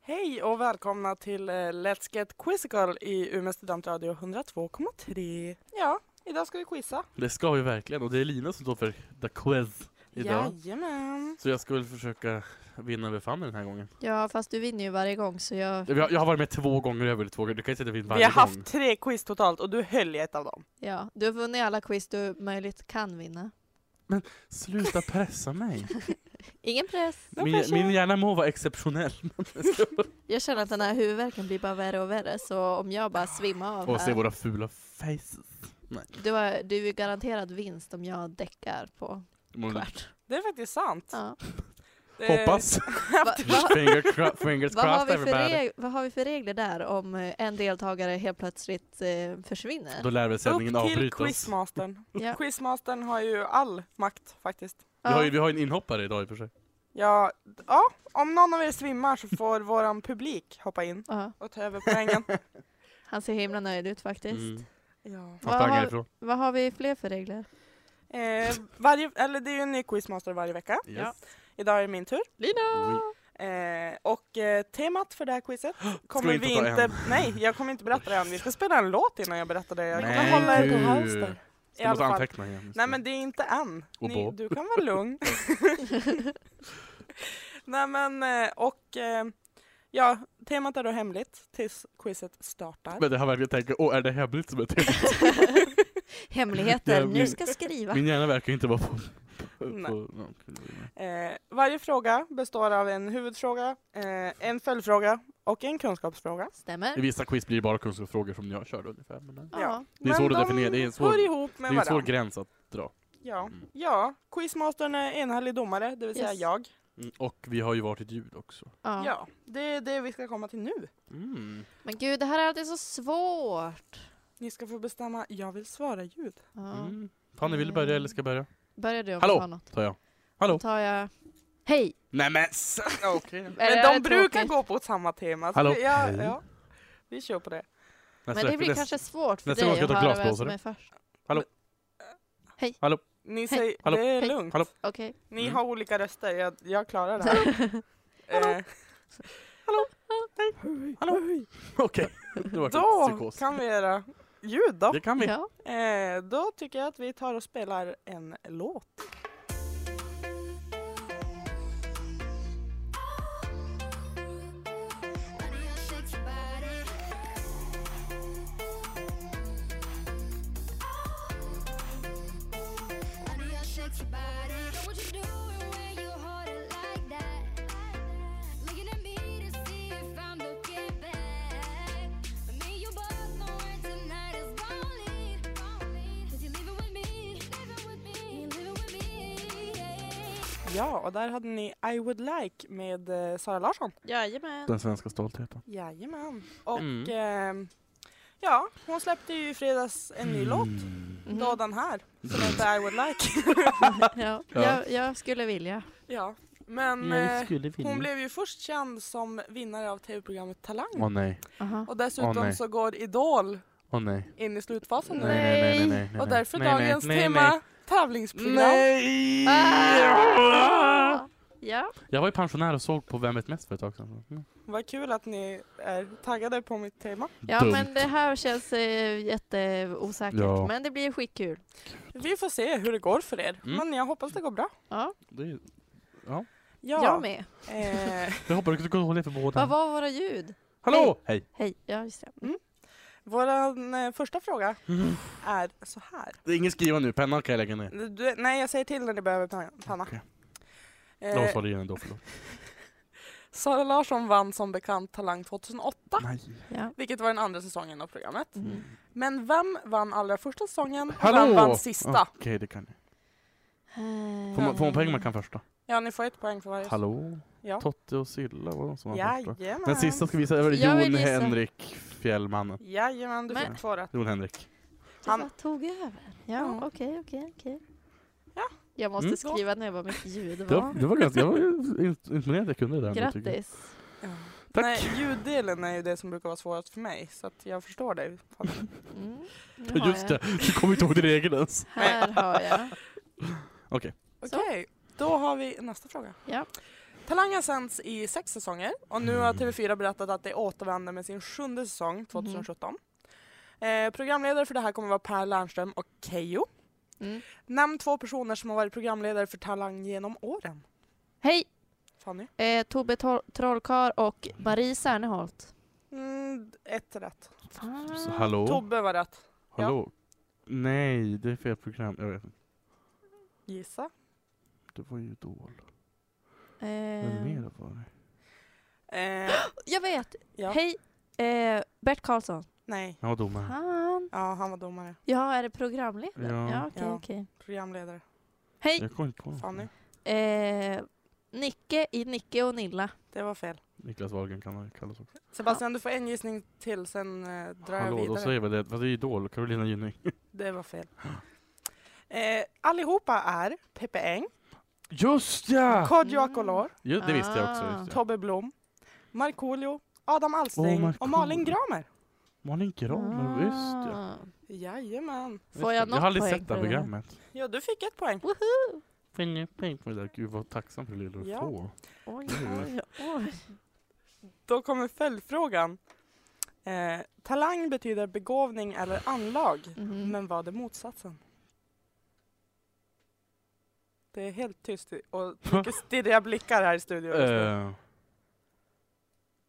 Hej och välkomna till eh, Let's Get Quizzical i Umeå studentradio 102,3. Ja, idag ska vi quizza. Det ska vi verkligen och det är Lina som står för the quiz idag. Jajamän. Så jag ska väl försöka vinna över Fanny den här gången. Ja, fast du vinner ju varje gång så jag... Jag, jag har varit med två gånger över två gånger. Du kan ju säga att jag vinner Vi varje har gång. haft tre quiz totalt och du höll i ett av dem. Ja, du har vunnit alla quiz du möjligt kan vinna. Sluta pressa mig. Ingen press. Men Min, kanske- min hjärna må vara exceptionell. Jag känner att den här huvudvärken blir bara värre och värre så om jag bara svimmar av Och se här. våra fula faces. Du, har, du är ju garanterad vinst om jag däckar på Mm. kvart. Det är faktiskt sant. Ja. Det- Hoppas. Va, va, Finger cro- fingers vad, har crossed vi för everybody. reg, vad har vi för regler där om eh, en deltagare helt plötsligt eh, Då försvinner? lär väl sändningen Upp till avbrytas. quizmastern. Ja. Quizmastern har ju all makt faktiskt. Vi har, Ja. ju, vi har ju en inhoppare idag i och för sig. Ja, ja, om någon av er svimmar så får våran publik hoppa in Ja, och ta över poängen. han ser himla nöjd ut faktiskt. Mm. Ja. Han Vad sprang har- härifrån. Vad har vi fler för regler? Eh, varje, eller det är ju en ny quizmaster varje vecka. Yes. Idag är det min tur. Oui. Eh, och eh, temat för det här quizet kommer vi vi inte inte, ta än? Nej, jag kommer inte berätta det än. Vi ska spela en låt innan jag berättar det. Jag Nej, kommer hålla er på gud. halster. I Jag måste alla fall. anteckna igen. Nej men det är inte än. Och Ni, på. du kan vara lugn. Nej men eh, och eh, ja, temat är då hemligt tills quizet startar. Men det har jag verkligen tänkt, åh är det hemligt som är tänkt? Hemligheter, Ja, nu min- ska skriva. Min hjärna verkar inte vara på... på, Nej. på ja, Eh, varje fråga består av en huvudfråga, eh, en följdfråga och en kunskapsfråga. I Stämmer. vissa quiz blir det bara kunskapsfrågor som jag körde ungefär. Men nej. Ja. Ja. Det är svårt att de definiera, det är en svår- hör ihop Det med är en svår varandra. gräns att dra. Ja. Mm. ja, quizmastern är enhällig domare, det vill säga Yes. jag. Mm, Och vi har ju varit ett ljud också. Ja. Ja, det är det vi ska komma till nu. Mm. Men gud, det här är alltid så svårt. Ni ska få bestämma, jag vill svara ljud. Ja. Mm. Fanny, vill du börja eller ska jag börja? Börjar du om Hallå? du har något? Tar jag. Då Hallå? tar jag... Hej! Nej men s- Okej. Är det- Men är de det brukar tråkigt? gå på ett samma tema. så Hallå? vi- Ja, Hej. ja. Vi kör på det. Men det blir kanske svårt för nästa dig gång ska att jag ta höra vem som glasblåsare. är först. Ni säger, Hallå. det är Hej. lugnt. Hallå. Okej. Ni Mm. har olika röster, jag, jag klarar det här. eh, Hallå? Okej. Det var en då psykos. kan vi göra ljud då. Det kan vi. Ja. Eh, då tycker jag att vi tar och spelar en låt. Ja, och där hade ni I would like med eh, Sara Larsson. Jajamän. Den svenska stoltheten. Jajamän. Och Mm. ehm, ja, hon släppte ju i fredags en Mm. ny låt. Mhm. Då den här, som heter I would like. Ja. Ja. Jag, jag skulle vilja. ja. Men eh, skulle hon blev ju först känd som vinnare av tv-programmet Talang. Åh nej. Aha. Och dessutom Åh, nej. så går Idol Åh nej. in i slutfasen nu. Nej, nej, nej, nej, nej, nej. Och därför Nej, nej, dagens nej, tema nej. tävlingsprogram. Nej! Ah! Ja. Jag var ju pensionär och såg på Vem vet mest för ett tag sedan. Mm. Vad kul att ni är taggade på mitt tema. ja, Dumt. men det här känns eh, jätteosäkert. Ja. Men det blir skitkul. Vi får se hur det går för er. Mm. Men jag hoppas det går bra. Ja, Det är, Ja, jag med. eh, jag hoppas du kan hålla för båda. Vad var våra ljud? Hallå! Hej! Hej. Ja, just det. Våran eh, första fråga är så här. Det är ingen skriva nu, pennan kan jag lägga ner. Du, nej, jag säger till när du behöver pan- panna. Okej. Jag Eh, sa det igen ändå, Ah. förlåt. Sara Larsson vann som bekant Talang 2008, Nej. Ja. vilket var den andra säsongen av programmet. Mm. Men vem vann allra första säsongen och Hallå! Ah, vem vann sista? Okej, det kan jag. Mm. Får man, får man poäng man kan första? Ja, ni får ett poäng för varje. Hallå? Ja. Totte och Silla var de som var första. Jajamän. Den sista ska visa, det var Jag vill Jon gissa. Henrik Fjällmannen. Jajamän, du Men- fick två rätt. Jon Henrik. Du Han- bara tog över? Ja, Ja. okej, okej, okej. Ja. Jag måste Mm. skriva ner vad mitt ljud Det var, var. det var ganska, jag var imponerad att jag kunde det. ändå, tycker jag. Grattis. Tack. Nej, ljuddelen är ju det som brukar vara svårast för mig, så att jag förstår dig. Fan. Mm. nu Ja, har Just jag. det, du kommer inte ihåg din egen ens. Här har jag. Okej. Okej, då har vi nästa fråga. Ja. Talangen sänds i sex säsonger och nu har Mm. TV4 berättat att det återvänder med sin sjunde Mhm. säsong 2017. Eh, programledare för det här kommer vara Per Lernström och Keyyo. Mm. Nämn två personer som har varit programledare för Talang genom åren. Hej! Fanny? Eh, Tobbe Tro- Trollkar och Marie Serneholt. Mm, ett rätt. Så, Fan. hallå? Tobbe var rätt. hallå? Nej, det är fel program. Jag vet inte. Gissa. Det var ju Idol. Vem Eh, mer var det? Eh, jag vet! Ja. Hej! Eh, Bert Karlsson. nej. Ja, domaren. Han. Ja, han var domare. Ja, är det programledare? Ja. Ja, okej, Ja. okej. Programledare. Hej! Jag kom inte på något. Fanny? Eh, Nicke i Nicke och Nilla. Det var fel. Niklas Wahlgren kan han kallas också. Sebastian, du får en gissning till, sen eh, drar jag Hallå, vidare. då säger vi det. Vad är Idol? Carolina Gynning. Det var fel. Eh, allihopa är Peppe Eng, Just ja! Kodjo Mm. Akolor, Jo, det visste jag också. Ah. Just det. Tobbe Blom, Markoolio, Adam Åh, Alsing Markoolio. och Malin Gramer. Malin Gramer, just ja. Ah. Jajamän. Får jag Jag något har aldrig poäng sett det här för det där? programmet. Ja, du fick ett poäng. Woho! Ping, ping, ping. Där, Gud vad tacksam för det lilla du Ja. får. Oj, Mm. oj, oj. Då kommer följdfrågan. Eh, talang betyder begåvning eller anlag, Mhm. men vad är motsatsen? Det är helt tyst i- och mycket stirriga blickar här i studion. just nu. Eh,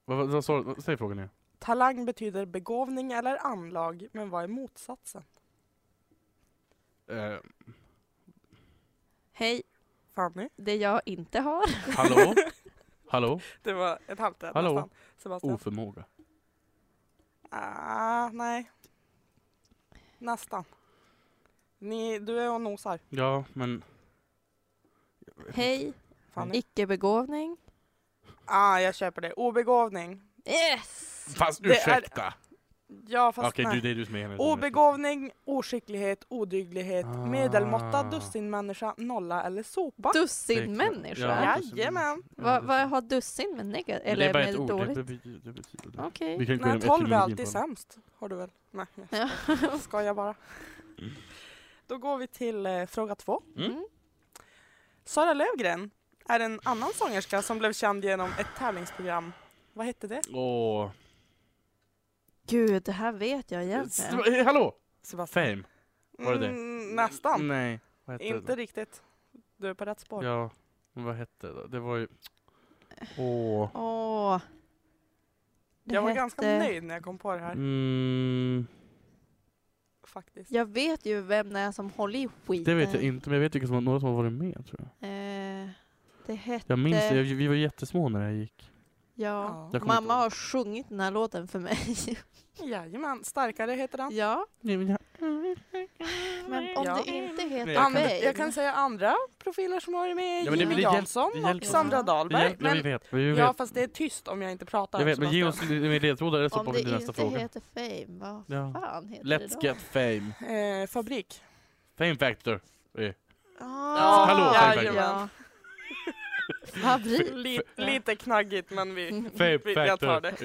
Vad vad- vad sa du? Säg frågan igen. Talang betyder begåvning eller anlag, men vad är motsatsen? Eh, Hej, Fanny? det jag inte har. Mm. hallå? hallå? Det var ett halvt rätt Hallå? nästan. Sebastian? Oförmåga. Ah, nej. Nästan. Ni, du är och nosar, Ja, men... Hej, Mm. Fanny. icke-begåvning. Ah, jag köper det. Obegåvning. Yes! Fast Det är- ursäkta! Ja, fast Okej, nej. du, det är du som är henne. Obegåvning, oskicklighet, odyglighet, Ah. medelmåtta, dussinmänniska, nolla eller sopa. Dussinmänniska? Ja. Ja. Jajamän. Vad vad har dussin med negativt? Det är Eller bara ett med ord. dåligt? Det, bety- det betyder det. Okej. Vi kan gå Nej, igenom tolv är etymologin på alltid den. sämst. Har du väl? Nej, jag Ja. skojar bara. Mm. Då går vi till eh, fråga två. Mm. Sara Lövgren är en annan sångerska som blev känd genom ett tävlingsprogram. Vad hette det? Åh. Gud, det här vet jag S- egentligen. eh, Hallå! Sebastian? Fame. var det det? Mm, nästan. Nej. Vad hette det? Inte riktigt. Du är på rätt spår. Ja, men vad hette det? Det var ju... Åh. Åh. Det jag var hette- ganska nöjd när jag kom på det här Mm, faktiskt. Jag vet ju vem det är som håller i skiten. det vet jag inte, men jag vet vilka som, några som har varit med tror jag. Eh, det hette... Jag minns det, vi var jättesmå när det här gick. Ja. Ja. Jag kommer inte Mamma ihåg. har sjungit den här låten för mig. Jajamän, starkare heter den. ja. Nej, men jag- Men om Ja. det inte heter jag kan- Andra, Fame. jag kan säga andra profiler som har varit med. Ja, men det- Jimmy det hjälp- Jansson det och hjälper. Sandra Det Dahlberg. hjälper, ja, vi Men, vet. Vi vet. ja, fast det är tyst om jag inte pratar. jag vet, men ge Sebastian. oss lite ledtrådar eller så Om hoppar det vi till nästa inte fråga. heter Fame, vad Ja. fan heter det då? Let's get fame. Eh, fabrik. Fame factor. Ah, Hallå, Fame Jajamän. Fabrik. Li- lite knaggigt, men vi... Mm, Fame Vi- factor. jag tar det.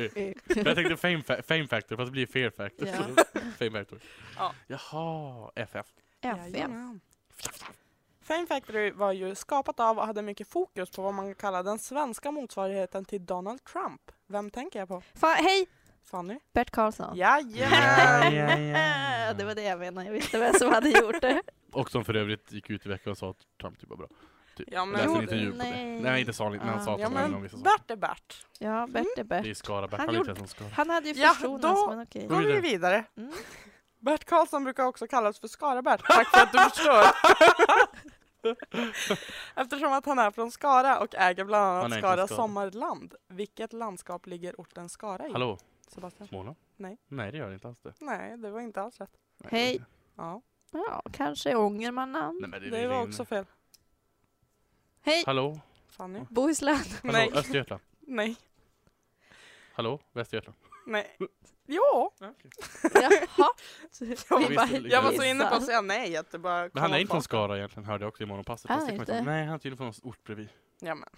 Men jag tänkte fame, fa- fame factor, fast det blir fear factor. Ja. Så fame factor. Ja. Jaha, FF. FM. Jajamän. Fame Factory var ju skapat av och hade mycket fokus på vad man kallar den svenska motsvarigheten till Donald Trump. Vem tänker jag på? Fan, hej! Fanny? Bert Karlsson. Jajamän! Ja, ja. det var det jag menade, jag visste vem som hade gjort det. Och som för övrigt gick ut i veckan och sa att Trump typ var bra. Ja Men, läste en men, intervju på nej. det. Nej, inte Salin, men han sa att ja, han var en av men vissa saker. Bert är Bert. Ja, Bert är Det Bert. är Skara, Bert Han han är inte gjorde- ens en Skara. Han hade ju Ja, försonats, då- men okej. Då går vi vidare. Mm. Bert Karlsson brukar också kallas för Skara-Bert. Tack för att du förstår. Eftersom att han är från Skara och äger bland Han annat är inte Skara Skara. Sommarland. Vilket landskap ligger orten Skara i? Hallå, Sebastian? Småland? Nej. Nej, det gör det inte alls det. Nej, det var inte alls rätt. Nej, Hej. det- Ja, Ja, kanske Ångermanland. Nej, men det, det var ringer. också fel. Hej! Hallå? Fanny? Bohuslän. Hallå, Nej. Östergötland? Nej. Hallå, Västergötland? Nej. Jo! Jaha. visste bara det. Jag var så inne på att gissar. säga nej att det bara Men han är inte från Skara egentligen, hörde jag också i morgonpasset. Han Fast är det kommer inte. inte- Nej, han är tydligen från någon ort bredvid. Ja, men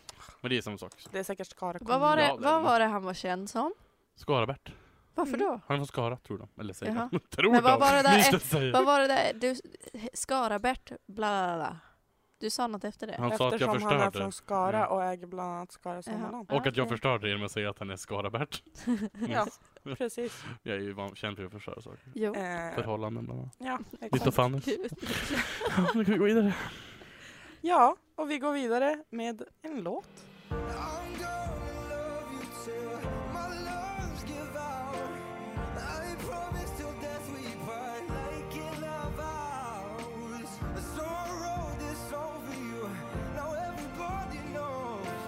Men det är samma sak. det är säkert Skara Vad var, det, Ja, det- vad var det han var känd som? Skara-Bert. Varför Mm. då? Han är från Skara, tror de. Eller säger Jaha. de. tror Men vad de. var det där Minns ett- de säger. Vad var det där? Du, Skara-Bert, bla bla bla. Du sa något efter det? Han sa att jag Eftersom han är förstörde. från Skara Mm. och äger bland annat Skara sommarland. Och att jag Okej. förstörde genom att säga att han är Skara-Bert. Mm. Ja, precis. Jag är ju van- känd för att förstöra saker. Jo. Eh, Förhållanden bland annat. ja, Lite exakt. Fanny. Ja, nu kan vi gå vidare. Ja, och vi går vidare med en låt. I'm gonna love you till my lungs give out. I promise till death we part like in our vows. So I wrote this over you. Now everybody knows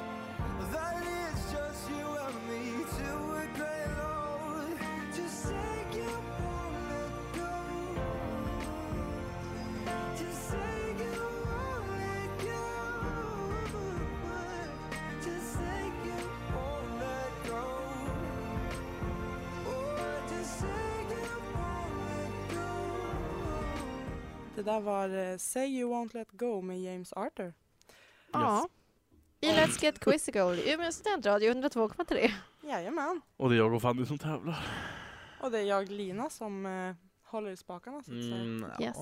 that it's just you and me to a great load. Just say you won't let go. Just say you won't let go. Just say you won't let go. Oh, just say you won't let go. Det där var eh, Say You Won't Let Go med James Arthur. Ja. I Let's Get Quizzical, Umeå studentradio 102,3. Jajamän. Och det är jag och Fanny som tävlar. Och det är jag Lina som eh, håller i spakarna så att säga. Mm, Mm. Yes.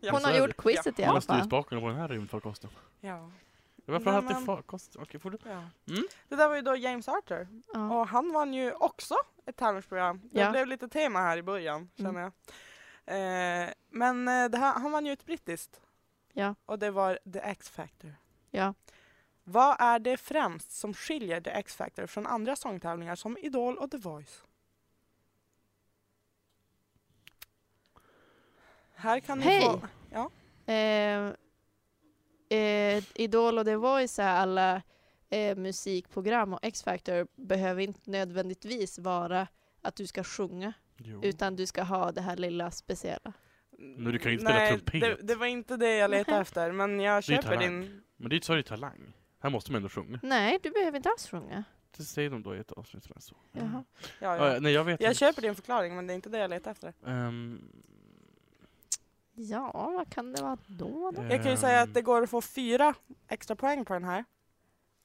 Ja, Hon så har är gjort det. quizet i Jag alla måste ju fall. spakarna på den här rymdfarkosten. Ja. Varför har jag Nej, men- alltid farkost? Okej, får du? ja. Mm. Det där var ju då James Arthur. Ja. Och han vann ju också ett tävlingsprogram. Det Ja. Mm. blev lite tema här i början, känner jag. Eh, men eh, det här, han vann ju ett brittiskt. Ja. Och det var The X-Factor. Ja. Vad är det främst som skiljer The X-Factor från andra sångtävlingar som Idol och The Voice? Här kan ni Hej! få... Ja. Eh, eh, Idol och The Voice är alla eh, musikprogram och X-Factor behöver inte nödvändigtvis vara att du ska sjunga Jo. utan du ska ha det här lilla speciella. Men du kan ju inte spela Nej, trumpet. Det, det var inte det jag letade efter, men jag Det är köper talang. din... Men det är ju så det är talang. Här måste man ändå sjunga. Nej, du behöver inte alls sjunga. Det säger de då i ett avsnitt. tror jag, Så. Jaha. Ja, Ja, ja. ja, nej, jag vet Jag inte. köper din förklaring, men det är inte det jag letar efter. Ehm, Ja, vad kan det vara då? då? Jag kan ju ehm, säga att det går att få fyra extra poäng på den här.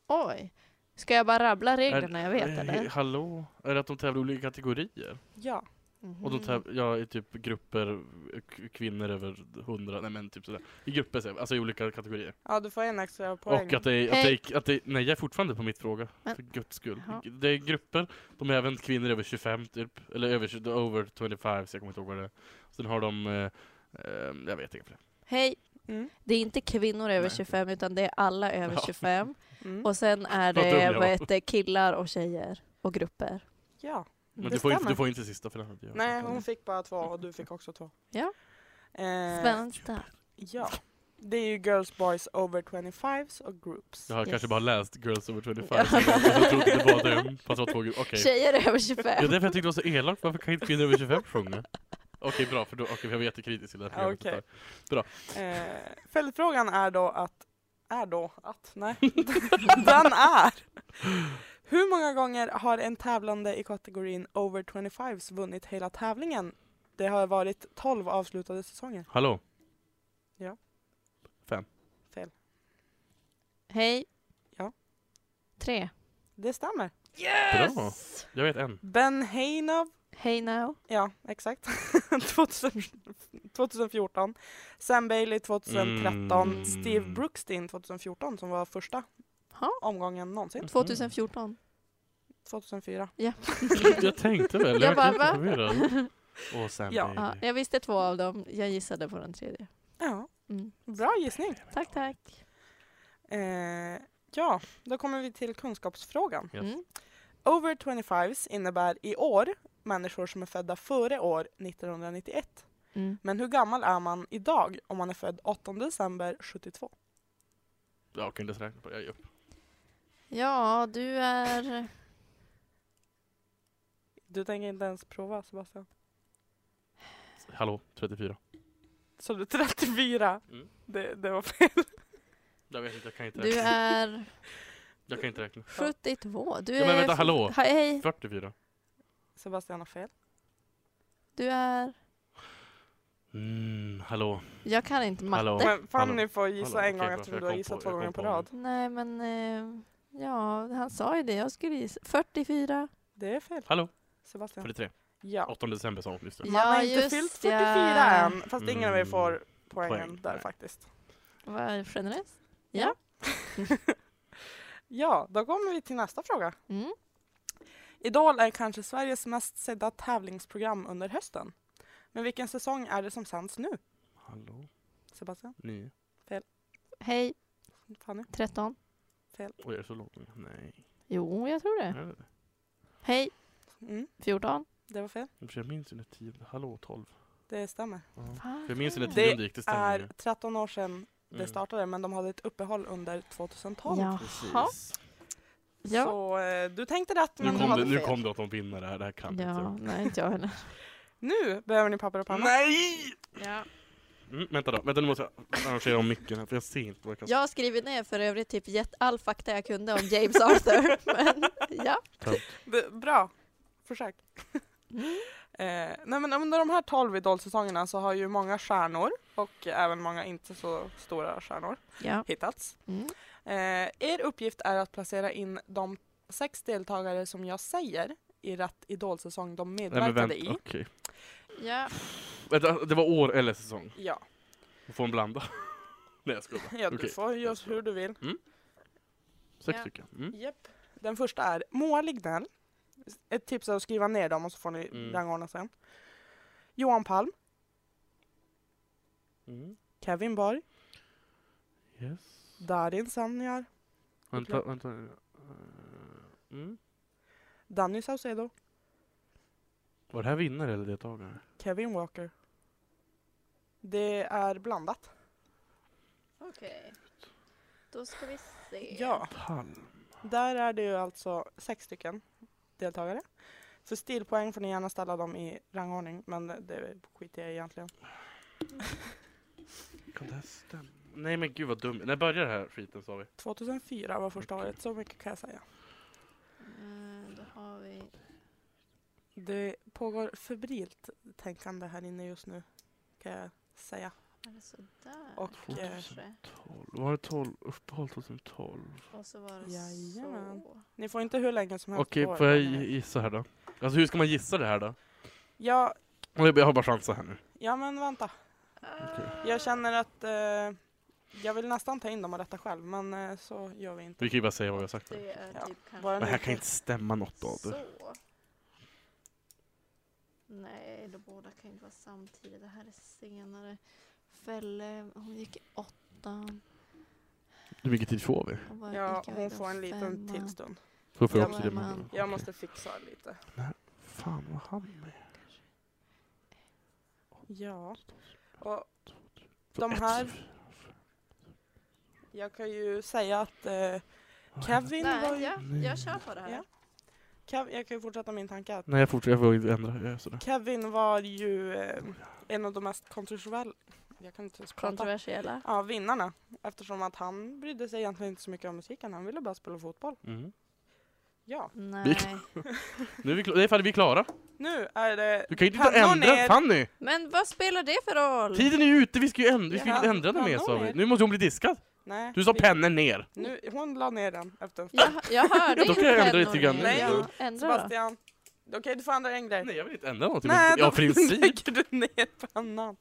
Oj, ska jag bara rabbla reglerna jag vet eh, eller? Hallå? Är det att de tävlar i olika kategorier? Ja. Och då Mhm. tävlar jag i typ grupper, k- kvinnor över hundra, nej men typ sådär. I grupper, säger jag, alltså i olika kategorier. ja, du får en extra poäng. Och att det, är, att, det är, att det är, nej jag är fortfarande på mitt fråga, Men- för guds skull. Jaha. Det är grupper, de är även kvinnor över 25 typ, eller över, 20 over 25, så jag kommer inte ihåg vad det är. Sen har de, eh, eh, jag vet inte fler. Hej, Mm. det är inte kvinnor över Nej. 25 utan det är alla över Ja. 25. Mm. Och sen är Vad dum det jag var. vad heter, det, killar och tjejer och grupper. Ja. Men Det du får, inte, stämmer. du får inte sista för den hade jag. Nej, hon fick bara två och du fick också två. Ja. Eh, Spännande stuff. ja. Det är ju Girls, Boys, Over 25s och Groups. Jag har Yes. kanske bara läst Girls Over 25, Ja. och så trodde det var dem, fast det var två grupper. Okej. Tjejer över Ja, 25. det är för jag tyckte det var så elakt. Varför kan inte kvinnor över 25 sjunga? Okej, bra. För då, okej, jag var jättekritisk till det här programmet Okej. ett tag. Eh, följdfrågan är då att... Är då att? Nej. Den är! Hur många gånger har en tävlande i kategorin Over 25s vunnit hela tävlingen? Det har varit 12 avslutade säsonger. Hallå? Ja. Fem. Fel. Hej. Ja. Tre. Det stämmer. Bra. Jag vet en. Ben Heinov, Hej now. ja exakt, 2000, 2014. Sam Bailey 2013. Mm. Steve Brookstein 2014 som var första Ha. omgången Mm. någonsin. 2014. 2004. Jag tänkte väl. Jag Jag bara, var va? jätteförvirrad. Och sen Ja. Ja, Bailey. jag visste två av dem. Jag gissade på den tredje. Ja, Mm. bra gissning. Tack, tack. Eh, ja, då kommer vi till kunskapsfrågan. Yes. Mm. Over 25s innebär i år människor som är födda före år 1991. Mm. Men hur gammal är man idag om man är född 8 december 72? Jag kunde inte räkna på det. Jag ger upp. Ja, du är... Du tänker inte ens prova Sebastian? Hallå? 34. Så du är 34? Mm. Det, det var fel. Jag vet inte, jag kan inte Du räkna. är Jag kan inte räkna. 72. Du är... Ja, men vänta, hallå? Hej, 44. Sebastian har fel. du är... Mm, hallå? Jag kan inte matte. Hallå. Men Fanny hallå, får gissa hallå, en gång okej, eftersom jag du har kom gissat på- två jag kom gånger på på rad. nu. Nej, men... Eh, ja, han sa ju det. Jag skulle gissa. 44. Det är fel. Hallå? Sebastian. 43. Ja. 8 december sa hon. Just det. Man har Ja, inte just fyllt ja. 44 än. Fast ingen av er Mm. får poängen Poäng, där nej. faktiskt. Vad generöst. Ja, då kommer vi till nästa fråga. Mm. Idol är kanske Sveriges mest sedda tävlingsprogram under hösten. Men vilken säsong är det som sänds nu? Hallå? Sebastian? Nio? Hej, Fanny? 13. Oj, är det så långt? nu? Nej. Jo, jag tror det. Är det det? Hej, Mm, 14. det var fel. Jag minns ju när tionde... Hallå, tolv? Det stämmer. Ja. Fan, Jag minns ju när Det tionde gick, det stämmer ju. Är 13 år sedan det Mm. startade, men de hade ett uppehåll under 2012. Jaha. Precis. Ja. Så eh, du tänkte rätt, men Nu du kom, hade det, nu fel. kom det att de vinner det här, det här kan Ja, inte nej inte jag heller. Nu behöver ni papper och panna. Nej! Ja. Mm, vänta då, vänta nu måste jag arrangera om micken här för jag ser inte vad jag kan Jag har skrivit ner för övrigt typ gett all fakta jag kunde om James Arthur. Men ja. B- bra försök. Mm. Eh, nej men under de här 12 Idol-säsongerna så har ju många stjärnor och även många inte så stora stjärnor Ja. hittats. Mm. Eh, er uppgift är att placera in de sex deltagare som jag säger i rätt Idol-säsong de Nej men medverkade vänta, i. okej. ja. Vänta, det var år eller säsong? Ja, Man får en blanda. Nej jag skojar bara. ja du Okej, får göra hur du vill. Sex Ja. stycken. Mm. Japp. Den första är Moa Lignell. Ett tips är att skriva ner dem och så får ni Mm. rangordna sen. Johan Palm, Mm. Kevin Borg, Yes. Darin Samniar, Vänta, vänta. Eh, Mm. Danny Saucedo, Var det här vinnare eller deltagare? Kevin Walker. Det är blandat. Okej. Då ska vi se. Ja, Palm. där är det ju alltså sex stycken deltagare. För stilpoäng får ni gärna ställa dem i rangordning, men det skiter jag i egentligen. Kan det här stämma? Nej men gud vad dum. När börjar det här skiten sa vi? 2004 var första Okej. året, så mycket kan jag säga. Eh, Då har vi... Det pågår febrilt tänkande här inne just nu, kan jag säga. Är det sådär? Och, eh, Kanske. 12. Var det 12? Uppehåll 2012? Och så var det Jajamän. så. Ni får inte hur länge som helst Okej, på er, får jag men, eh, gissa här då? Alltså hur ska man gissa det här då? Ja, Jag har bara chanser här nu. ja, men vänta. Okej. Ah, Jag känner att eh, jag vill nästan ta in dem och rätta själv, men eh, så gör vi inte. Vi kan ju bara säga vad vi har sagt. här. Det är Ja. typ kanske Bara Det här nu. kan inte stämma något av det. så. Nej, de båda kan ju inte vara samtidigt. Det här är senare. Fälle, hon gick i åttan. Hur mycket tid får vi? Och var, Ja, gick hon Aida får en liten femman. till stund. Får jag Jag också det? var med- man. Jag Okej. måste fixa lite. Fan vad han är. Ja. Och Så De ett, här- fyra, jag kan ju säga att eh, Kevin var Nej, ju... ja, jag kör på det här. Ja. Kev, jag kan ju fortsätta min tanke. Att Nej jag fortsätter, jag får inte ändra. Jag är sådär. Kevin var ju eh, en av de mest kontroversiella... Jag kan inte ens prata. Kontroversiella. Ja, vinnarna. Eftersom att han brydde sig egentligen inte så mycket om musiken. Han ville bara spela fotboll. Mm. Ja. Nej. Nu är vi, kla- nej, fan, vi är klara. Nu är det... Du kan ju inte Pannor ändra. ner. Fanny! Men vad spelar det för roll? Tiden är ju ute, vi ska ju ändra, vi ska ju Ja. ändra den mer Pannor sa vi. ner. Nu måste hon bli diskad. Nej. Du sa vi- pennor ner. Nu, hon la ner den efter en Jag, jag hörde Då inte kan jag ändra lite pennor grann. nu. Nej, Ja, ändra då. Sebastian. Okej, du får ändra en grej. Nej jag vill inte ändra någonting. Nej, ja då princip. lägger du ner pannan.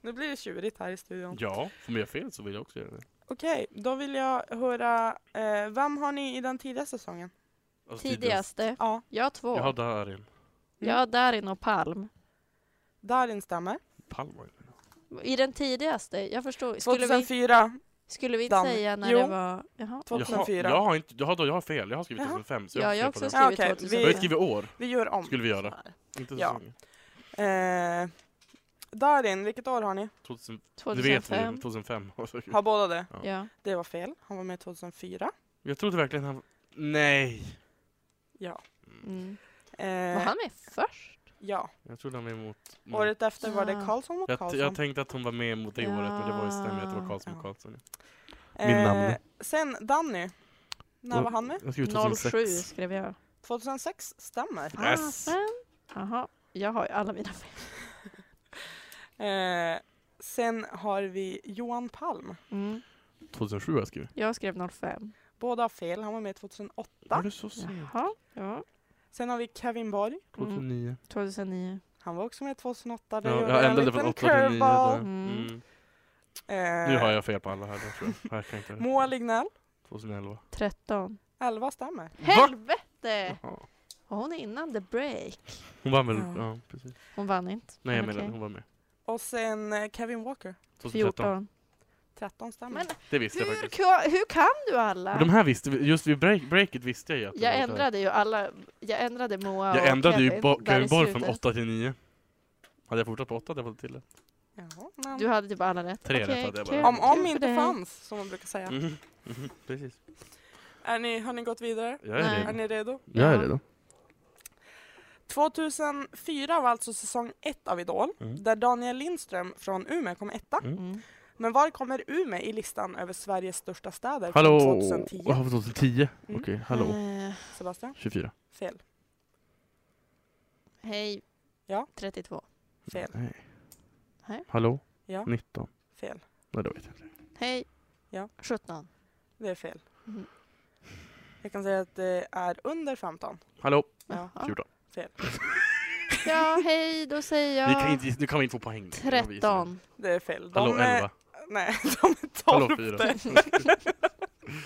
Nu blir det tjurigt här i studion. Ja, om jag gör fel så vill jag också göra det. Okej, då vill jag höra, eh, vem har ni i den tidiga säsongen? Alltså, Tidigaste. Ja, Jag har två. Jag har Darin. Jag har Darin och Palm. Darin stämmer. Palma. I den tidigaste, jag förstår. Skulle vi, 2004. skulle vi inte Dan. säga när Jo. det var... Jaha. Jaha, 2004. Jag har, inte, jag, har, jag har fel, jag har skrivit Jaha. 2005. Så Ja, jag har jag fel också på den. Ja, skrivit okej, vi- jag har ju 2005. skrivit år, Vi gör om. skulle vi göra. Inte Ja. säsongen. Eh, Darin, vilket år har ni? 2000, du vet Alltså, vi, 2005. 2005. Har båda det? Ja. Det var fel. Han var med 2004. Jag trodde verkligen han... Nej! Ja. Mm. Var Eh, han med först? ja. Jag trodde han var emot... mot- Året efter var det Ah. Karlsson mot Mm. jag, t- jag Karlsson. tänkte att hon var med mot det året, men det var ju stämmer att det var Karlsson Ja. och Karlsson. min namn. Eh, sen Danny. När Då- var han med? Jag skrev 07 2006. skrev jag. 2006 stämmer. Yes! Fasen. Jaha, jag har ju alla mina fel. Eh, sen har vi Johan Palm. Mm. 2007 har jag skrivit. Jag skrev 05. Båda har fel, han var med 2008. Var det så sent? Jaha, ja. Mm. Sen har vi Kevin Borg, 2009. 2009. han var också med 2008. Det Ja, gjorde jag en ändrade liten från 8 till 9 där. curveball. Mm. Mm. Eh, Nu har jag fel på alla här. Jag tror jag. jag kan inte. Moa Lignell, 2011. 13. 11 stämmer. Helvete! Jaha. Och hon är innan the break. Hon vann väl? Ja. Ja, precis. Hon vann inte. Nej, jag Men menar okej. hon var med. Och sen eh, Kevin Walker, 2013. 14. 13 stämmer. Men Det visste jag hur, faktiskt. ka- hur kan du Men alla? De här visste vi- just vid break, breaket visste jag ju att det Jag var så här. ändrade ju alla. Jag ändrade Moa och Jag ändrade ju Kevin bo- där i Kevin Borg från slutet. 8 till 9. Hade jag fortsatt på 8 hade jag fått till det. Jaha, men... Du hade typ alla rätt. Tre rätt Okej, hade jag kul. bara. Om Kul om för inte dig. fanns, som man brukar säga. Mhm. Mhm. Precis. Är ni, har ni gått vidare? Jag är Nej. Är redo. ni redo? Jag är Ja. redo. 2004 var alltså säsong ett av Idol, Mm. där Daniel Lindström från Umeå kom etta. Mm. Men var kommer Umeå i listan över Sveriges största städer Hallå! från 2010? Ja, från 2010? Mm. Okej, hallå. Eh, Sebastian? 24. Fel. hej. Ja. 32. Fel. Nej. Nej. Hallå? Ja. 19. Fel. Nej, det vet jag inte. Hej. Ja. 17. Det är fel. Mhm. Jag kan säga att det är under 15. Hallå? Ja. Jaha. 14. Fel. Ja, hej, då säger jag Vi kan inte, nu kan vi inte få poäng. Det kan vi visa. 13. Det är fel. Hallå, är- 11. Nej, de är Hallå, 12. fyra.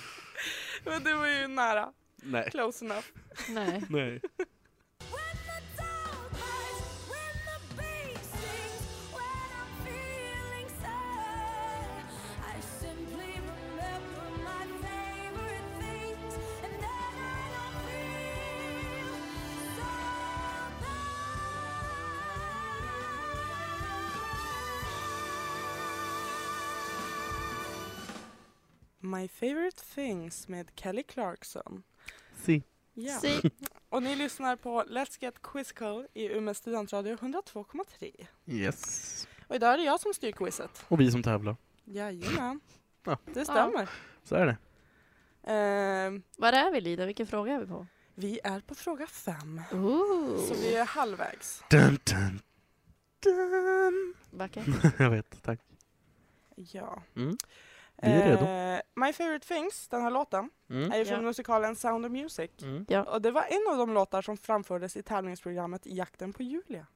Men det var ju nära. Nej. Close enough. Nej. Nej. When the dog barks, when the bass sings, when I'm feeling sad, I simply remember my favorite things, and then I don't feel so My favorite things med Kelly Clarkson. Si. Ja. Si. Och ni lyssnar på Let's Get Quizzical i Umeå studentradio 102,3. Yes. Och idag är det jag som styr quizet. Och vi som tävlar. Jajamän. Ja. Det stämmer. Så är det. Ehm, Var är vi Lida? Vilken fråga är vi på? vi är på fråga fem. Så Ooh. vi är halvvägs. Dun, dun, dun. Backa. jag vet, tack. Ja. Mm. Vi är redo. Ehm, My favorite things, den här låten, Mm. är ju från Ja. musikalen Sound of Music. Mm. Och det var en av de låtar som framfördes i tävlingsprogrammet Jakten på Julia.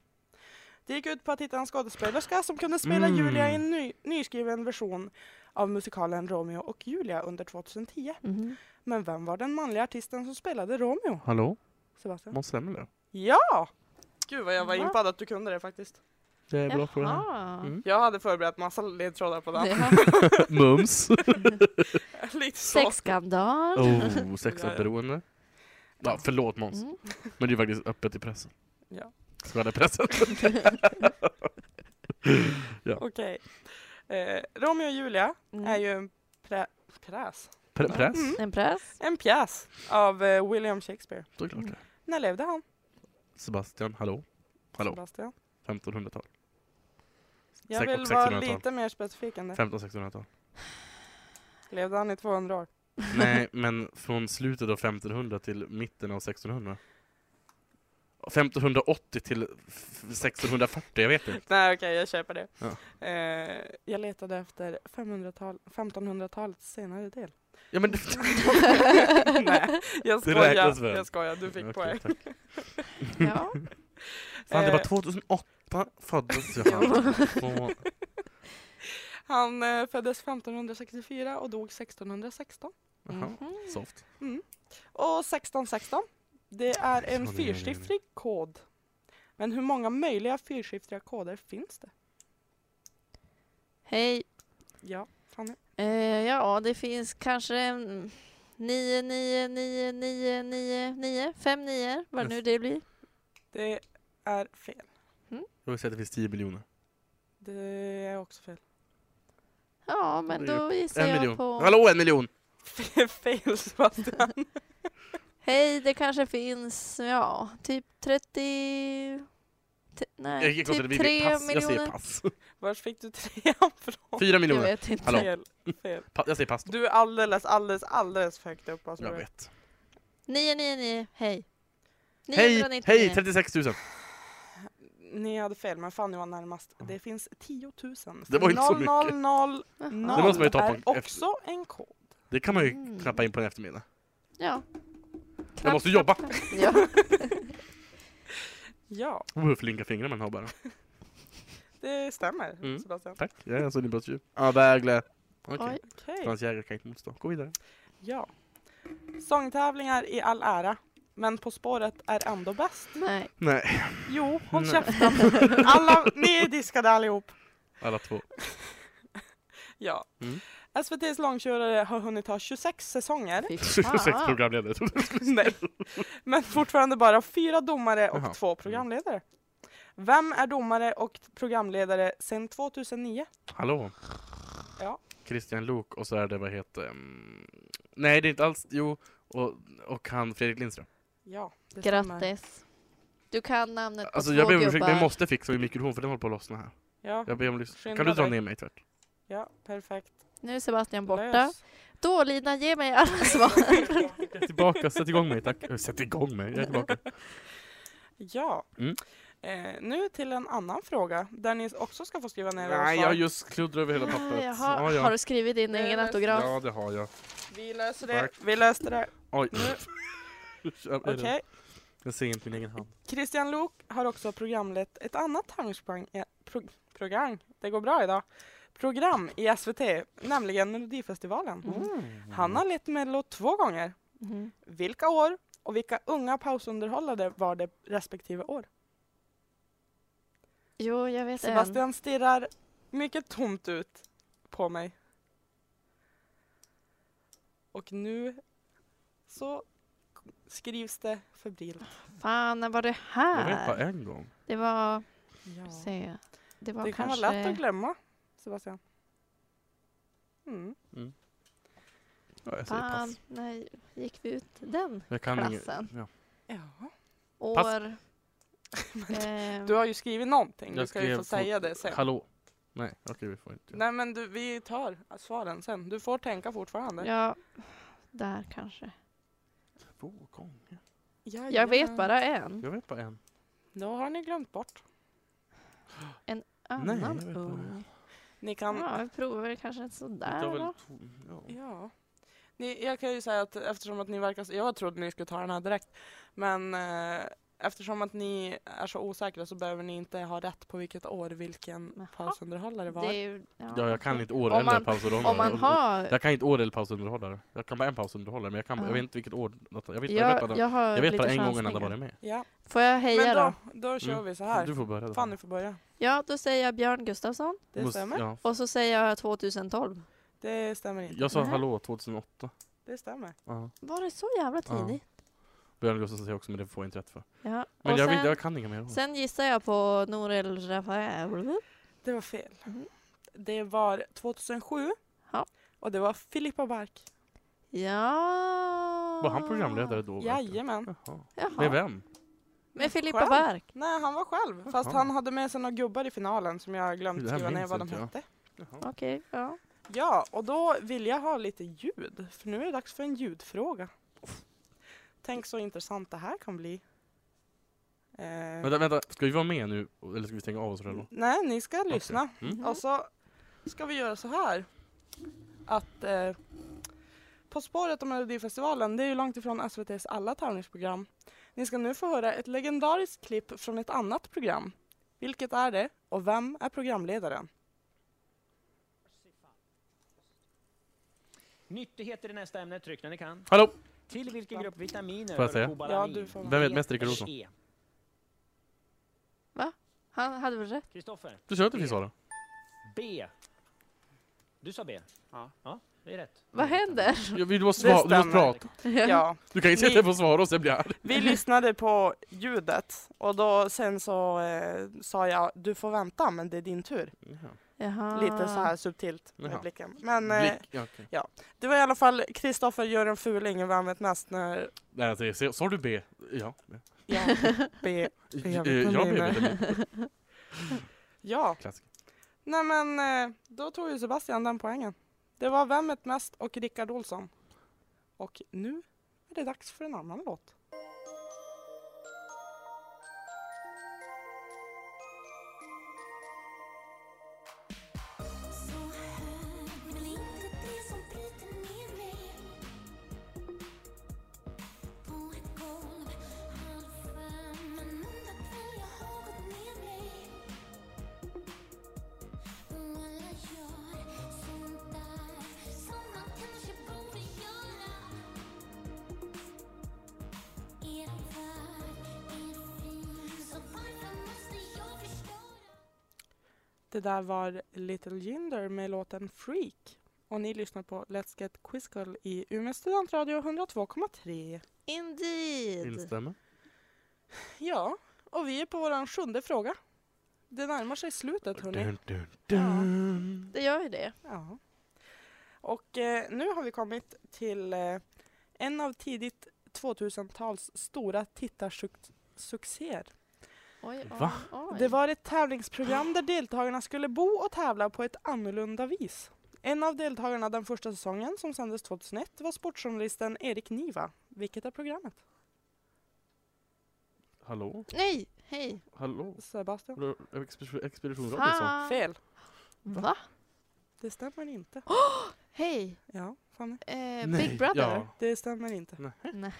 Det gick ut på att hitta en skådespelerska som kunde spela Mm. Julia i en ny, nyskriven version av musikalen Romeo och Julia under 2010. Mhm. Men vem var den manliga artisten som spelade Romeo? Hallå? Sebastian? Måns Zelmerlöw? Ja! Gud vad jag var Va? impad att du kunde det faktiskt. Det är bra fråga. Jaha. Mm. Jag hade förberett massa ledtrådar på den. Ja. Mums. Lite så. Sexskandal. Oh, sexuellt Ja, förlåt Måns. Mm. Men det är faktiskt öppet i pressen. Ja. Skvallra pressen. Okej. Eh, Romeo och Julia Mm. är ju en prä- präs. Pre press? Mm. En press. En pjäs av eh, William Shakespeare. Såklart det. När levde han? Sebastian, hallå? Hallå? Sebastian? 1500-tal? Jag Säkert vill vara 1600-tal. lite mer specifik än det. 1500-1600-tal? Levde han i 200 år? Nej, men från slutet av 1500 till mitten av 1600? 1580 till f- 1640, jag vet inte. Nej okej, jag köper det. Ja. Eh, jag letade efter 500-tal, 1500-talets senare del. Ja men... Nej, jag Det räknas skojar. väl? Jag skojar, du fick Okej, poäng. tack. Ja. Fan, det Eh. Mm. var 2008 föddes jag. Två- Han eh, föddes 1564 och dog 1616. Jaha, Mhm. soft. Och 1616, det är en Så det är det. fyrsiffrig kod. Men hur många möjliga fyrsiffriga koder finns det? Hej. Ja, Fanny. Eh, ja, det finns kanske en 9, 9, 9, 9, 9, 9, 5 9 vad nu det blir. Det är fel. Jag vill säga att det finns 10 miljoner. Det är också fel. Ja, men Det är ju då gissar En jag miljon. på... Hallå, en miljon! fel Sebastian. Hej, det kanske finns, ja, typ 30... T- Jag nej, gick också, typ typ 3 pass. Jag säger miljoner. pass. Var fick du trean från? Fyra Jag miljoner. vet inte. Hallå. Fel, fel. Pa- jag säger pass. Då. Du är alldeles, alldeles, alldeles för högt upp. Alltså. Jag vet. 9, 9, 9, hej. Hej, 999. hej, 36 000. Ni hade fel, men Fanny var närmast. Det finns 10 000. Det var inte så mycket. 0000 Jaha. Det måste man ju ta på är efter- också en kod. Det kan man ju Mm. knappa in på en eftermiddag. Ja. Jag måste jobba. Ja. Ja, Oh, hur flinka fingrar man har bara. det stämmer Mm. Sebastian. Tack, jag är alltså din bröstdjur. Ja, vägle. Okej, Oj. Okej, hans jägare kan inte motstå. Gå vidare. ja. Sångtävlingar i all ära, men På spåret är ändå bäst. Nej. Nej, Jo, håll Nej. käften. Alla, ni är diskade allihop. alla två. Ja. Mm. SVTs långkörare har hunnit ha 26 säsonger. Fy 26 fan. programledare. trodde jag. Nej. Men fortfarande bara fyra domare och Jaha. Mm. två programledare. Vem är domare och programledare sedan 2009? Hallå? Ja. Christian Lok och så är det, vad heter... mm, Nej, det är inte alls... Jo, och, och han Fredrik Lindström. Ja, det stämmer. Grattis. Du kan namnet på Alltså två jag ber om ursäkt, gubbar. men jag måste fixa min mikrofon för den håller på att lossna här. Ja, Jag ber om ursäkt. Skynda Kan du dra dig. ner mig tvärt? ja, perfekt. Nu är Sebastian borta. Lös. Då Lina, ge mig alla svar. Tillbaka, sätt igång mig tack. Eh, Sätt igång mig, jag är tillbaka. Ja. Mm. Eh, nu till en annan fråga där ni också ska få skriva ner era Nej, svar. jag just kluddrar över hela pappret. Jaha, Ja, ja. har du skrivit din Det är egen väl- autograf? ja, det har jag. Vi löser det. det. Tack. Vi löste det. Oj. Okej. Jag ser inte min egen hand. Christian Lok har också programlett ett annat tävlingsprogram, eh, pro, program, det går bra idag, program i SVT, nämligen Melodifestivalen. Han har lett Mello två gånger. Mhm. Vilka år och vilka unga pausunderhållare var det respektive år? Jo, jag vet en. Sebastian stirrar mycket tomt ut på mig. Och nu så skrivs det febrilt. Fan, när var det Jag vet bara här? en gång. Det var... Ja. Se. Det var Det kan kanske... vara lätt att glömma, Sebastian. Mm. Ja, jag säger Fan, Alltså, pass. när gick vi ut den Jag kan inget. klassen? Ja. Ja. Pass. År... eh, Du har ju skrivit någonting, du Jag ska ju skrev få på- säga det sen. Hallå? Nej, okej vi får inte. Nej men du, vi tar svaren sen. Du får tänka fortfarande. ja, där kanske. Två gånger? Jajamän. Jag vet bara en. Jag vet bara en. Då har ni glömt bort. Nej, jag Annan vet bara ung. Ni kan... Ja, vi provar väl kanske inte sådär Det var då. väl två- ja. Ja. Ni, jag kan ju säga att eftersom att ni verkar... så- Jag trodde ni skulle ta den här direkt. Men eh, eftersom att ni är så osäkra så behöver ni inte ha rätt på vilket år vilken Jaha. pausunderhållare var. Det är ju, ja, jag kan okej. inte år Om eller man- pausunderhållare. Om man har... Jag kan inte år eller pausunderhållare. Jag kan bara en pausunderhållare, men jag, kan, Ja. jag vet inte vilket år. Jag vet, jag vet Jag, bara, jag har jag vet bara lite en gång när han chansningar. varit med. Ja. Får jag heja Men då? då, då kör Mm. vi så här. Du får börja. då. Fanny får börja. Ja, då säger jag Björn Gustafsson. Det Måste- stämmer. Ja. Och så säger jag 2012. Det stämmer inte. Jag sa Nej. hallå 2008. Det stämmer. Ja. Var det så jävla Ja. tidigt? Björn Gustafsson säger också, men det får jag inte rätt för. Ja. Men jag, Och sen, vet, jag kan inga mer år. sen gissar jag på Norel Rafael. Det var fel. Mhm. Det var 2007 Ja. och det var Filippa Bark. Ja. Var han programledare då? verkligen? Jajamän. Jaha. Med Jaha. vem? Med Filippa Själv? Bark. Nej, han var själv. Fast Jaha. han hade med sig några gubbar i finalen som jag Det glömt här skriva ner minns vad de inte jag. hette. Jaha. Okej, ja. Ja, och då vill jag ha lite ljud. För nu är det dags för en ljudfråga. Tänk så intressant det här kan bli. Eh, Vänta, vänta, ska vi vara med nu eller ska vi stänga av oss själva? nej, ni ska Okej. lyssna. Mm. Och så ska vi göra så här. Att eh, På spåret och Melodifestivalen, det är ju långt ifrån SVTs alla tävlingsprogram. Ni ska nu få höra ett legendariskt klipp från ett annat program. Vilket är det och vem är programledaren? Nyttigheter i nästa ämne, tryck när ni kan. Hallå! Till vilken grupp vitaminer Får jag hör säga? Ja, kobalamin? du får Vem vet mest Rickard E, Olsson? E. Han hade väl rätt? Kristoffer, Du kör inte precis Sara? B. Du sa B? Ja. Ja, det är rätt. Mm. Vad händer? Ja, vi- Du måste, Det svara, du måste stämmer. prata. Ja, Du kan ju säga att Ni- jag får svara och sen blir jag arg. vi lyssnade på ljudet och då sen så eh, sa jag du får vänta men det är din tur. Jaha. Lite så här subtilt Jaha. med blicken. Men eh, Blick, ja, okej. det var i alla fall Kristoffer gör en fuling i Vem vet mest när Nej, alltså, jag säger, sa du B? Ja. jag ber Eh, vet inte jag om det är B. B. Ja. Klassiker. Nej men eh, då tog ju Sebastian den poängen. Det var Vem vet mest och Rickard Olsson. Och nu är det dags för en annan låt. Så här blir väl inte det som bryter ner mig På ett golv, halv fem, en enda kväll jag har gått ner mig Det där var Little Jinder med låten Freak. Och ni lyssnar på Let's Get Quizzical i Umeå studentradio 102,3. Indeed! Instämmer. Ja, och vi är på vår sjunde fråga. Det närmar sig slutet, hörni. Dun, dun, dun. Det gör ju det. Ja. Och eh, nu har vi kommit till eh, en av tidigt 2000-tals stora tittarsuccéer. Oj, oj, Va? oj. Det var ett tävlingsprogram där deltagarna skulle bo och tävla på ett annorlunda vis. En av deltagarna den första säsongen som sändes 2001 var sportjournalisten Erik Niva. Vilket är programmet? Hallå? Nej, hej! Hallå? Sebastian? Expe- Expedition Robinson? Fan! Fel. Va? Det stämmer inte. Hej! Ja, Fanny. Eh, Nej, Big Brother? Ja. Det stämmer inte. Nähä,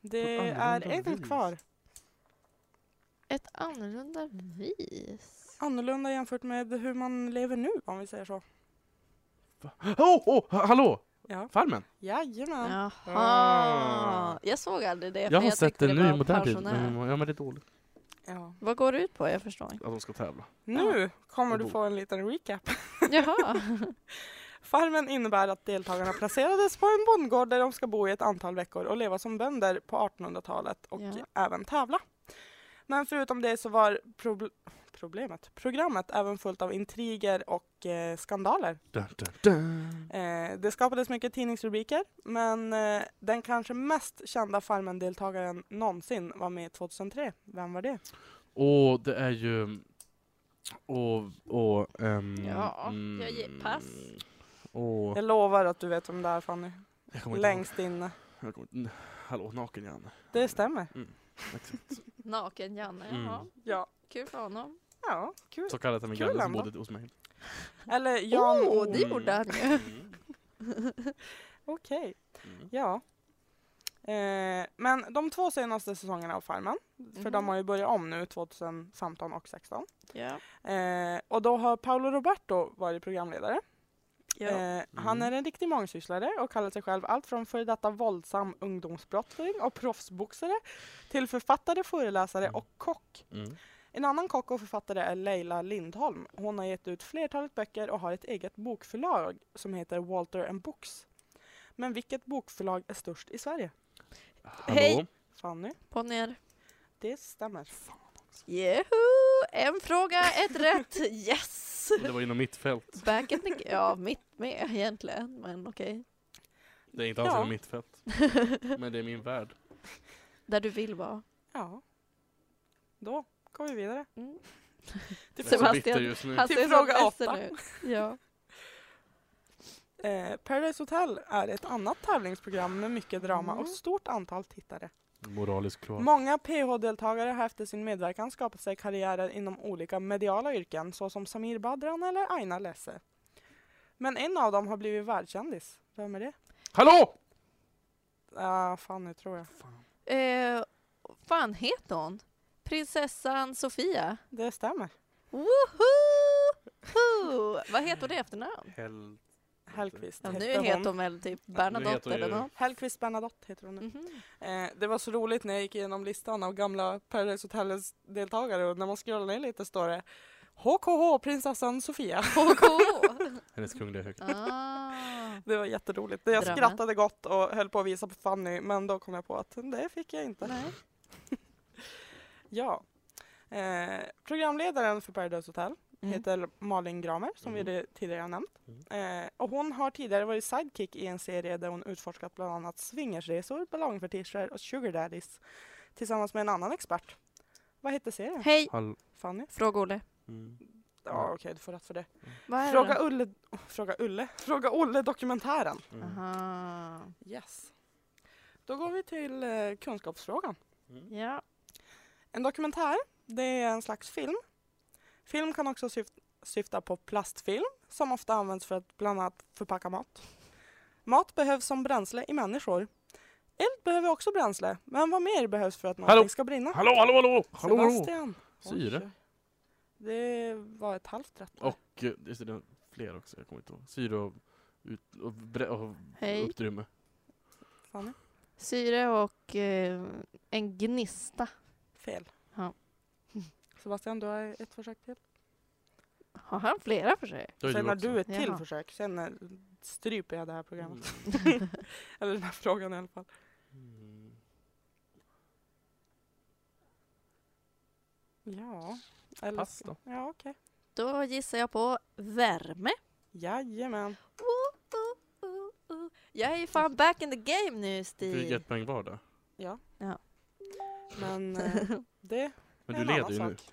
Det På ett är annorlunda enkelt vis. kvar. ett annorlunda vis. Annorlunda jämfört med hur man lever nu, om vi säger så. Oh, oh, ha- hallå! Ja. Farmen? Jajamän. Jaha! Jag såg aldrig det. för Ah. Jag har sett tyckte den det nu i var modern tid. pensionär. men- Ja men det är dåligt. Ja. Vad går det ut på? Jag förstår inte. Att de ska tävla. Nu kommer Och du bo. få en liten recap. Jaha! Farmen innebär att deltagarna placerades på en bondgård där de ska bo i ett antal veckor och leva som bönder på 1800-talet och Ja. även tävla. Men förutom det så var proble- problemet, programmet även fullt av intriger och eh, skandaler. Dun, dun, dun. Eh, det skapades mycket tidningsrubriker, men eh, den kanske mest kända Farmen-deltagaren någonsin var med 2003. Vem var det? Och det är ju... Och... och ehm, Ja, jag ger pass. Och... Jag lovar att du vet vem det är Fanny. Jag kommer inte ihåg. Längst inne. Jag kommer, inte- hallå, naken igen. Det stämmer. Exakt. Naken-Janne, jaha. Mm. Ja, Kul för honom. ja kul. Så kallade jag min Kul granne som ändå. bodde hos mig. Eller Jan Åh, O. det gjorde han ju! Mm. Okej, Mm. ja. Eh, men de två senaste säsongerna av Farmen, för de Mhm. har ju börjat om nu 2015 och 2016. Ja. Eh, och då har Paolo Roberto varit programledare. ja. Eh, Han är Mm. en riktig mångsysslare och kallar sig själv allt från före detta våldsam ungdomsbrottsling och proffsboxare till författare, föreläsare Mm. och kock. Mm. En annan kock och författare är Leila Lindholm. Hon har gett ut flertalet böcker och har ett eget bokförlag som heter Walter and Books. Men vilket bokförlag är störst i Sverige? Hallå? Hej. Fanny, Ponjer. det stämmer. Jeho! En fråga, ett rätt! Yes! Det var inom mitt fält. Back in the... Ja, mitt med egentligen, men okej. Det är inte alls Ja. inom mitt fält. Men det är min värld. Där du vill vara. Ja, då går vi vidare. Mm. Till Jag är så fråga- bitter just nu. Han Till ser fråga så ledsen åtta. ut. Ja. Eh, Paradise Hotel är ett annat tävlingsprogram med mycket drama Mm. och stort antal tittare. Moralisk kloak. Många PH-deltagare har efter sin medverkan skapat sig karriärer inom olika mediala yrken såsom Samir Badran eller Aina Lesse. Men en av dem har blivit världskändis. Vem är det? Hallå! Ah, fan nu tror jag. Eh, fan heter hon? Prinsessan Sofia? Det stämmer. Woho! Vad heter hon i efternamn? Hell... Hellqvist Ja, nu hette heter hon väl typ Nu heter Bernadotte hon ju- eller något. Hellqvist Bernadotte heter hon nu. Mhm. Eh, det var så roligt när jag gick igenom listan av gamla Paradise Hotels deltagare och när man scrollar ner lite står det HKH prinsessan Sofia. Mm-hmm. HK! Hennes kungliga högt. Ah. Det var jätteroligt. Jag Drömmen. skrattade gott och höll på att visa på Fanny men då kom jag på att det fick jag inte. Nej. Ja. Eh, programledaren för Paradise Hotel Mm. heter Malin Gramer som Mm. vi re- tidigare har nämnt. Eh, och hon har tidigare varit sidekick i en serie där hon utforskat bland annat swingersresor, ballongfetischer och sugar daddies tillsammans med en annan expert. Vad hette serien? Hej! Hall... Fanny? Fråga Olle. Mm. Ja okej, du får rätt för det. Vad är Fråga det? Ulle, fråga Ulle, fråga Olle dokumentären. då? Aha. Yes. Då går vi till eh, kunskapsfrågan. Ja. En dokumentär, det är en slags film. Film kan också syf- syfta på plastfilm som ofta används för att bland annat förpacka mat. Mat behövs som bränsle i människor. Eld behöver också bränsle, men vad mer behövs för att någonting Hallå? ska brinna? Hallå, hallå, hallå! hallå, hallå. Sebastian! Syre. Oj, Det var ett halvt rätt. Och eh, just det, det är fler också, jag kommer inte ihåg. Syre och, ut, och, bre, och Hej. uppdrymme. Fanny? Syre och eh, en gnista. Fel. Ja. Sebastian, du har ett försök till. Har han flera för sig? Det har Sen du har också. du ett till Jaha. försök, sen eh, stryper jag det här programmet. Eller den här frågan i alla fall. Mm. Ja. Eller Pass ska- Ja, okej. Då gissar jag på värme. Jajamän. Ooh, ooh, ooh. Jag är ju fan back in the game nu, Fick Stig. ett poäng var där. Men eh, det Men är du en leder annan ju nu. sak.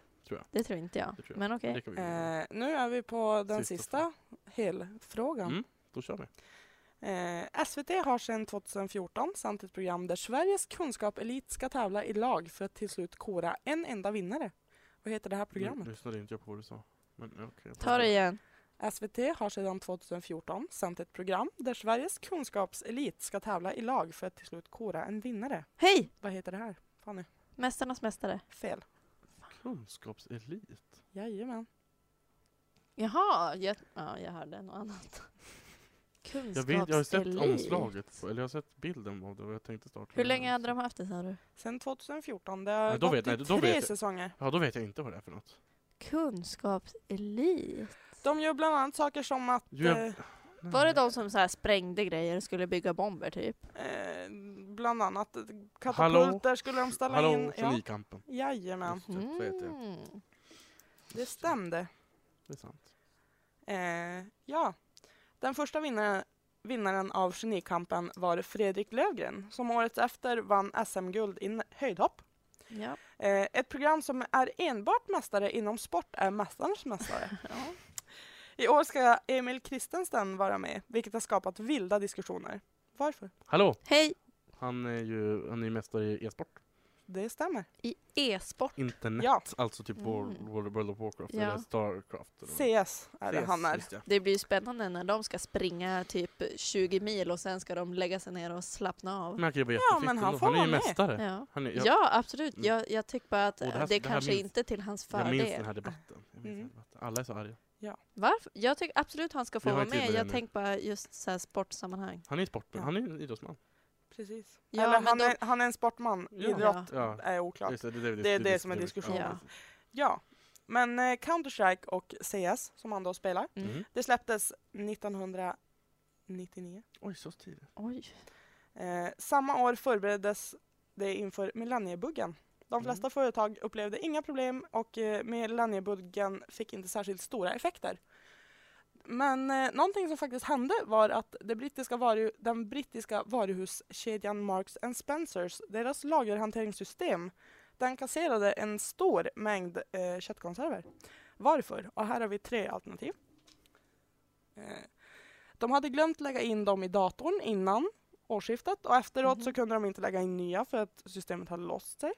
Det tror inte jag, Det tror jag. men okej. Det kan vi göra. Eh, nu är vi på den Sista sista, helfrågan. Mm. Då kör vi. Mm. Eh, SVT har sedan 2014 samt ett program där Sveriges kunskap-elit ska tävla i lag för att till slut kora en enda vinnare. Vad heter det här Nu programmet? lyssnade inte jag på vad du sa. Men, ja, okej. Ta det igen. SVT har sedan 2014 samt ett program där Sveriges kunskapselit ska tävla i lag för att till slut kora en vinnare. Hej! Vad heter det här? Fanny? Mästarnas mästare. Fel. Kunskapselit. Jajamän. Jaha, jag, ja, jag hörde något annat. Jag, vet, jag har sett Kunskapselit. omslaget, på, eller jag har sett bilden av det och jag tänkte starta Hur med länge den. hade de haft det, sa du? Sedan 2014. Det har Ja, då gått vet- i nej, då tre vet jag. säsonger. Ja, då vet jag inte vad det är för något. Kunskapselit? De gör bland annat saker som att Jo, jag- eh, Var det de som så här sprängde grejer och skulle bygga bomber, typ? eh, bland annat eh, katapulter skulle de ställa Hallå, in. Ja. Genikampen. Jajamän, Just det, Typ, så heter det. Mm. det stämde. Det är sant. Eh, ja. Den första vinnaren, vinnaren av Genikampen var Fredrik Lövgren som året efter vann SM-guld i n- höjdhopp. Ja. Eh, ett program som är enbart mästare inom sport är Mästarnas mästare. ja. I år ska Emil Kristensen vara med, vilket har skapat vilda diskussioner. Varför? Hallå! Hej! Han är ju han är ju mästare i e-sport. Det stämmer. I e-sport. Internet. Ja, Alltså typ Mm. World, World World of Warcraft Ja. eller Starcraft. Eller vad- CS är det Yes, han är. just det. Det blir ju spännande när de ska springa typ 20 mil och sen ska de lägga sig ner och slappna av. Men han kan ju vara Ja, jättefiffig men han ändå. får Han är vara ju med. mästare. Ja, Han är, jag, ja absolut. Mm. Jag, jag tycker bara att Och det här- eh, det det här kanske minns- inte är till hans jag minns fördel. den här debatten. Jag minns Mm. den här debatten. Alla är så arga. Varför? Jag tycker absolut han ska få Vi har vara ju tid med. med det Jag nu. tänkte bara just så här sportsammanhang. Han är ju sportman. Ja. Han är ju en idrottsman. Precis. Ja, Eller men han, de- är, han är en sportman. Ja. Idrott Ja. är oklart. Just det, det, vi- Det är det vi- som är vi- diskussionen. Ja. Ja, men eh, Counter-Strike och CS som han då spelar, Mm. Mm. det släpptes 1999. Oj, så tidigt. Oj. Eh, samma år förbereddes det inför millenniebuggen. De flesta Mm. företag upplevde inga problem och eh, millenniebuggen fick inte särskilt stora effekter. Men eh, någonting som faktiskt hände var att det brittiska varu, den brittiska varuhuskedjan Marks and Spencers, deras lagerhanteringssystem, den kasserade en stor mängd eh, köttkonserver. Varför? Och här har vi tre alternativ. Eh, de hade glömt lägga in dem i datorn innan årsskiftet och efteråt så Mhm. kunde de inte lägga in nya för att systemet hade låst sig.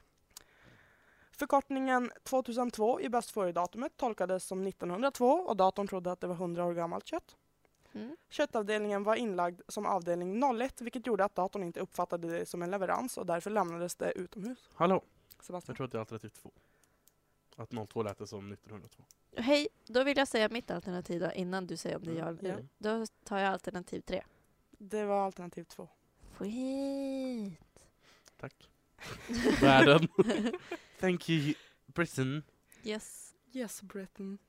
Förkortningen 2002 i bäst före-datumet tolkades som 1902 och datorn trodde att det var 100 år gammalt kött. Mm. Köttavdelningen var inlagd som avdelning 01 vilket gjorde att datorn inte uppfattade det som en leverans och därför lämnades det utomhus. Hallå! Sebastian. Jag tror att det är alternativ två. Att 02 lät det som 1902. Hej, då vill jag säga mitt alternativ då, innan du säger om Mm. det är jag. Ja. eller- Då tar jag alternativ tre. Det var alternativ två. Skit. Tack. Världen. Thank you, Britain. Yes. Yes Britain.